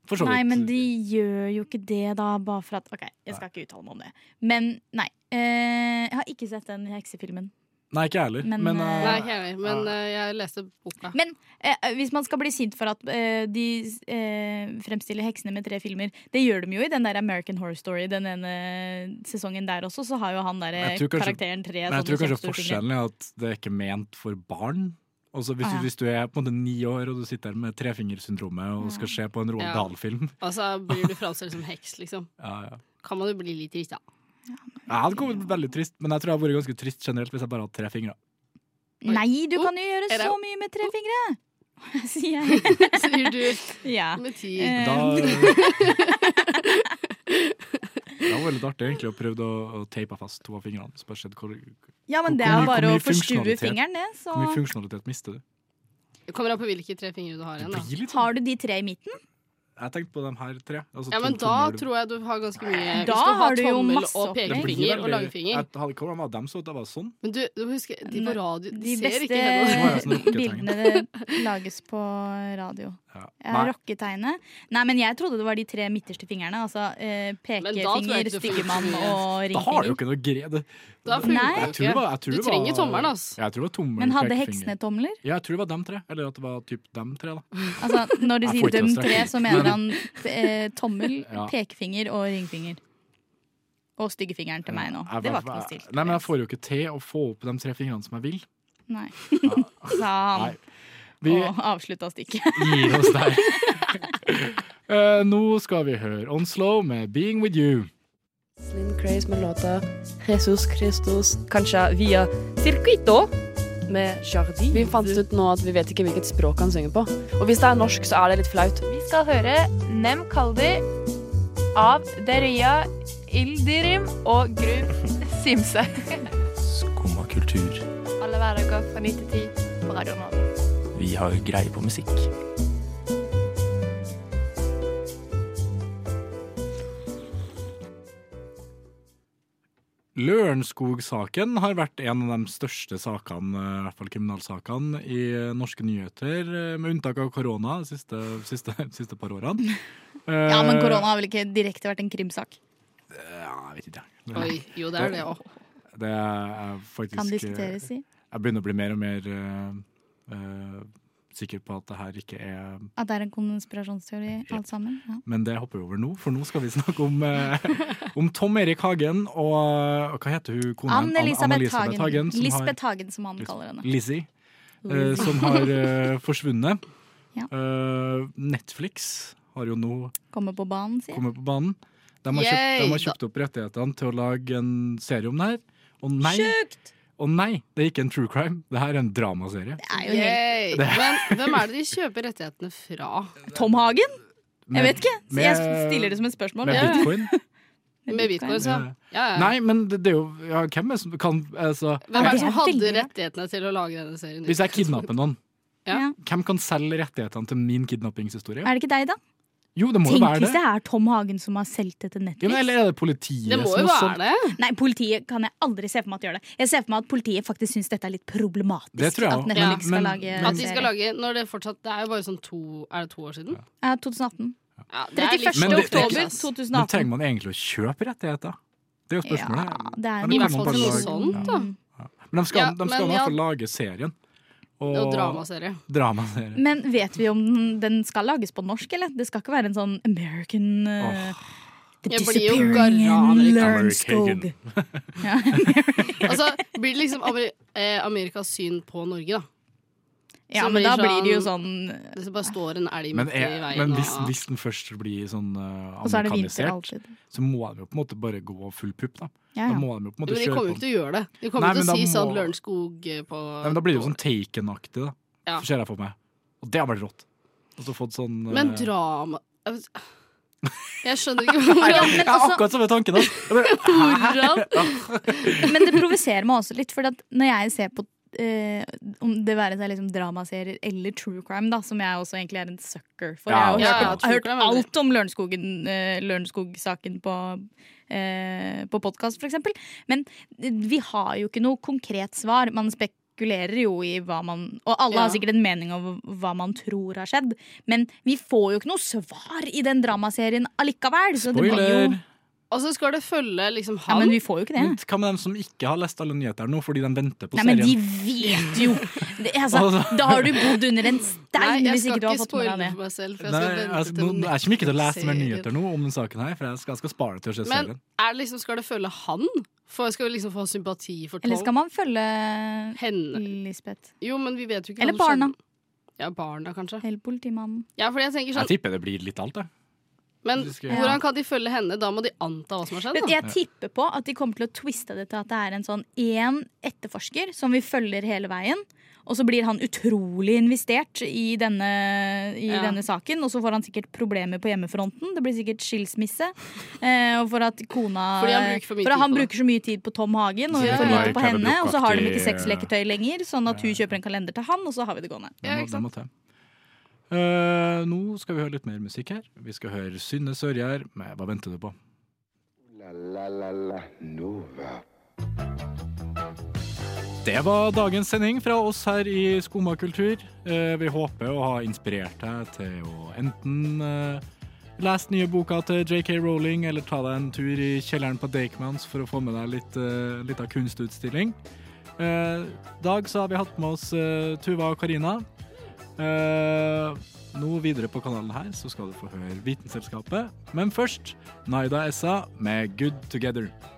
C: For så vidt.
E: Nei, men de gjør jo ikke det, da, bare for at OK, jeg skal ikke uttale meg om det. Men nei. eh, jeg har ikke sett den heksefilmen.
C: Nei, ikke jeg heller.
E: Men,
C: Men,
E: eh,
C: eh,
F: Nei, ikke jeg, men eh, jeg leste boka.
E: Men eh, hvis man skal bli sint for at eh, de eh, fremstiller heksene med tre filmer Det gjør de jo i den der American Horror Story den ene sesongen der også. Så har jo han der eh,
C: Jeg tror kanskje-
E: karakteren tre
C: Men jeg tror
E: sånne
C: kanskje
E: kjempestore filmer.
C: forskjellen er at det er ikke ment for barn. Altså hvis,
E: Ah, ja.
C: du, hvis du er på en måte ni år og du sitter her med trefingersyndromet og skal se på en Roald
F: Ja.
C: Dahl-film
F: Altså blir du framstilt som heks, liksom.
C: ja, ja.
F: Kan man jo bli litt trist, da.
C: Jeg hadde kommet veldig trist, men jeg tror jeg hadde vært ganske trist generelt hvis jeg bare hadde tre fingre.
E: Nei, du kan jo gjøre
F: er det-
E: så mye med tre fingre! [laughs] Sier
F: [laughs]
E: jeg. [laughs]
F: Sier du.
E: Ja.
F: Med ti.
E: Eh,
C: Da,
E: [laughs]
C: det hadde vært litt artig egentlig å prøve å, å teipe fast to av fingrene. Så bare se hvor,
E: Ja, men
C: hvor-
E: det
C: hvor
E: er
C: mye-
E: bare
C: hvor
E: å
C: mye
E: forstue
C: funksjonalitet-
E: fingeren, det. Så
C: Hvor mye funksjonalitet mister du?
F: Det kommer an på hvilke tre fingre du har igjen, da.
E: har du de tre i midten.
C: sånn- Jeg tenkte på de her tre. altså
F: Ja,
C: to
F: men da
C: tommel-
F: tror jeg du har ganske mye Hvis
E: Da
F: du
E: har
F: har
E: du jo
F: tommel
E: masse
F: og
E: opplegg.
C: Det blir
F: pekefinger og
C: veldig-
F: langfinger.
C: Jeg hadde hvordan var dem så at det var sånn.
F: Men du, du husker, de på radio
E: De
F: ser
E: beste
F: ikke henne.
C: altså
E: [laughs] bildene det lages på radio.
C: Ja.
E: Ja, Rocketegnet. Nei, men jeg trodde det var de tre midterste fingrene. Altså eh,
F: da tror jeg
E: pekefinger,
F: ikke du
E: styggemann
F: funker.
E: og
C: Da har du jo
E: ringfinger.
C: ikke noe gre... Det,
E: Da funker
C: Jeg tror
E: det
C: det var-
E: ikke.
C: jeg tror
E: Du
C: det var-
E: trenger tommelen,
F: altså.
E: ass.
C: Jeg tror det var tommel,
E: Men hadde
C: pekefinger.
E: heksene tomler?
C: Ja, jeg tror det var dem tre. Eller at det var typ dem tre, da.
E: Altså, når du
C: Jeg får
E: sier
C: ikke
E: dem
C: noe
E: tre,
C: strekk.
E: så mener han eh, tommel,
C: [laughs] Ja.
E: pekefinger og ringfinger. Og styggefingeren til meg nå.
C: Jeg-
E: Det var
C: jeg-
E: ikke noe stilt.
C: Nei, men jeg får jo ikke til å få opp de tre fingrene som jeg vil.
E: Nei. [laughs] Sa han.
C: Nei. Vi
E: Og avslutta stikket.
C: gir oss der. Eh, nå skal vi høre Onslow med 'Being With You'.
I: Slim Craze med låta Jesus Christus, kanskje via Circuito med Jardi. Vi fant ut nå at vi vet ikke hvilket språk han synger på. Og hvis det er norsk, så er det litt flaut.
J: Vi skal høre Nem Kaldi av Deria Ildirim og Gru Simse.
K: Skumma kultur.
J: Alle hverdager fra 9 til 10 på Radio Nova.
K: Vi har greie på musikk.
C: Lørenskog-saken har vært en av de største sakene, eh, i hvert fall kriminalsakene, i eh, norske nyheter, eh, med unntak av korona de siste, siste, [laughs] siste par årene.
E: Ja,
C: Eh,
E: men korona har vel ikke direkte vært en krimsak?
C: Ja, jeg vet ikke. jeg.
E: Oi, jo, det er det også.
C: Det er faktisk
E: Kan diskuteres i.
C: Jeg begynner å bli mer og mer eh, eh, sikker på at det her ikke er
E: At det er en konspirasjonsteori, alt sammen? Ja.
C: Men det hopper vi over nå, for nå skal vi snakke om, eh, om Tom Erik Hagen og, og hva heter hun kona?
E: Ann Elisabeth Hagen.
C: som har-
E: Lisbeth Hagen, som han kaller henne.
C: Lizzie, eh,
E: Lizzie.
C: som har eh, forsvunnet.
E: Ja.
C: Eh, Netflix har jo nå
E: Kommer på banen, sier jeg.
C: kommet på banen. De har, kjøpt, de
E: Yay!
C: har kjøpt opp rettighetene til å lage en serie om det her. Og nei, og nei, det er ikke en true crime. Det her er en dramaserie.
E: er jo
F: Yay.
C: helt- Det-
F: Men hvem er det de kjøper rettighetene fra?
E: Tom Hagen?
C: Med-
E: jeg vet ikke. Så jeg
C: med-
E: stiller det som et spørsmål.
C: Med
E: Ja. [laughs]
C: bitcoin. Eh,
F: Med bitcoin, så. Ja, ja.
C: Nei, men det, det er jo ja, Hvem er det som kan altså,
F: Hvem er det som hadde rettighetene til å lage denne serien?
C: Hvis jeg kidnapper noen,
F: Ja.
C: hvem kan selge rettighetene til min kidnappingshistorie?
E: Er det ikke deg, da?
C: Jo, det må jo
E: Tenk
C: være
E: hvis det
C: det.
E: er Tom Hagen som har solgt dette
C: Ja, men,
E: Netflix.
C: eller er det politiet som har solgt-
E: Nei, politiet kan jeg aldri se for meg at gjør det. Jeg ser for meg at politiet faktisk syns dette er litt problematisk.
C: Det tror jeg også.
E: At Netflix
C: Ja,
E: skal
C: men-
E: lage
F: At de skal
E: serie.
F: lage Når det fortsatt Det er jo bare sånn to Er det to år siden?
E: Ja, 2018.
F: Ja, det er litt-
E: 31.
C: Men det-
E: oktober
C: Men
E: 2018.
C: trenger man egentlig å kjøpe rettigheter? Det er jo spørsmålet.
E: det
C: Eller
E: er jo
C: kan
E: i hvert
C: man
E: fall
C: bare
E: til noe
C: lage-
E: sånt,
C: Ja.
E: da.
C: Men de skal,
E: Ja,
C: de
E: men
C: skal i
E: ja.
C: hvert fall lage serien. Og,
E: Og dramaserie.
C: dramaserie.
E: Men vet vi om den, den skal lages på norsk, eller? Det skal ikke være en sånn American eh, The
F: Jeg blir jo
E: Disappearing
F: garra
E: in
F: amerikaner.
E: Lørenskog.
F: Altså, blir det liksom Ameri eh, Amerikas syn på Norge, da?
E: Ja,
F: Så
E: men da
F: det
E: blir det jo sånn,
F: Det bare står en elg
C: Men,
F: midt i
C: er,
F: veien.
C: men hvis,
F: og-
C: hvis den først blir sånn eh,
F: Og så er det vinter altså.
C: amerikanisert, så må de jo på en måte bare gå full pupp, da.
F: Ja, ja.
C: Da må de jo på en
F: Men
C: måte
F: de
C: kjøre
F: kommer jo
C: på.
F: ikke til å gjøre det. De kommer
C: Nei,
F: til
C: men
F: å
C: da
F: si sånn
C: må-
F: Lørenskog eh, på
C: Nei, men da blir det jo sånn Taken-aktig, da.
F: Ja.
C: Ser jeg for meg. Og det har vært rått. Og så fått sånn eh,
F: Men
C: [laughs]
F: drama Jeg vet- Jeg skjønner ikke
C: Nei,
F: hvordan
C: Jeg har
E: altså-
C: akkurat samme
E: [laughs]
C: tanken, da. Jeg bare,
M: [laughs]
E: Hvordan? Men det provoserer meg også litt, for at når jeg ser på eh, om det være seg liksom dramaserier eller true crime, da, som jeg også egentlig er en sucker for.
M: Ja,
E: jeg
M: ja,
E: har
M: ja,
E: jo hørt,
M: true
E: jeg har hørt alt om Lørenskogen, eh, Lørenskog-saken på, eh, på podkast, for eksempel. Men vi har jo ikke noe konkret svar. Man spekulerer jo i hva man Og alle har
M: Ja.
E: sikkert en mening om hva man tror har skjedd, men vi får jo ikke noe svar i den dramaserien allikevel. Så det blir jo
C: Spoiler!
F: Og så skal det følge liksom
E: Ja,
F: han.
E: men vi får jo ikke det.
C: Men Hva med dem som ikke har lest alle nyheter nå, fordi de venter på
E: Nei, men de
C: serien?
E: vet jo! Det,
C: [laughs]
E: altså,
C: Altså.
E: da har du bodd under en
F: Nei,
E: stein
F: jeg
E: hvis
F: skal
E: ikke du har
F: ikke
E: fått med
F: spoile
E: deg
F: for
E: det.
F: meg selv, for jeg
C: Nei,
F: skal vente
C: altså,
F: til
C: nå,
F: den
C: jeg kommer ikke til å lese mer
F: serien.
C: nyheter nå om den saken her, for jeg skal, jeg skal spare det til å se
F: Men
C: serien.
F: er det liksom, skal det følge han? For skal vi liksom få sympati for Tom?
E: Eller skal man følge
F: Henne.
E: Lisbeth?
F: Jo, men vi vet jo ikke
E: Eller
F: hva som
E: barna.
F: skjedde. Ja, barna, kanskje.
E: Eller politimannen.
F: Ja, fordi jeg tenker
C: Jeg
F: sånn
C: tipper det blir litt alt, jeg.
F: Men
C: Hvis vi skal-
F: hvordan kan de følge henne? Da må de anta hva som har skjedd. da.
E: Men jeg tipper på at de kommer til å twiste det til at det er en sånn én etterforsker som vi følger hele veien. Og så blir han utrolig investert i denne, i
M: Ja.
E: denne saken. Og så får han sikkert problemer på hjemmefronten. Det blir sikkert skilsmisse. [laughs] Eh, og for at kona
F: Fordi han bruker for mye
E: at
F: tid
E: han
F: på det.
E: bruker så mye tid på Tom Hagen og
F: Ja.
E: for lite
C: Mike
E: på henne. Og så har de
C: Havebrok-aktig,
E: ikke sexleketøy lenger, sånn at hun kjøper en kalender til han, og så har vi det gående.
C: Den må, den må til. Eh, nå skal vi høre litt mer musikk her. Vi skal høre Synne Sørgjær med 'Hva venter du på?'
B: La, la, la, Nova.
C: Det var dagens sending fra oss her i Skumma kultur. Eh, Vi håper å ha inspirert deg til å enten eh, lese nye boka til JK Rowling, eller ta deg en tur i kjelleren på Deichmans for å få med deg litt, eh, litt av kunstutstilling. Eh, I dag så har vi hatt med oss eh, Tuva og Karina. Eh, Nå videre på kanalen her så skal du få høre Vitenselskapet, men først Naida Essa med Good Together.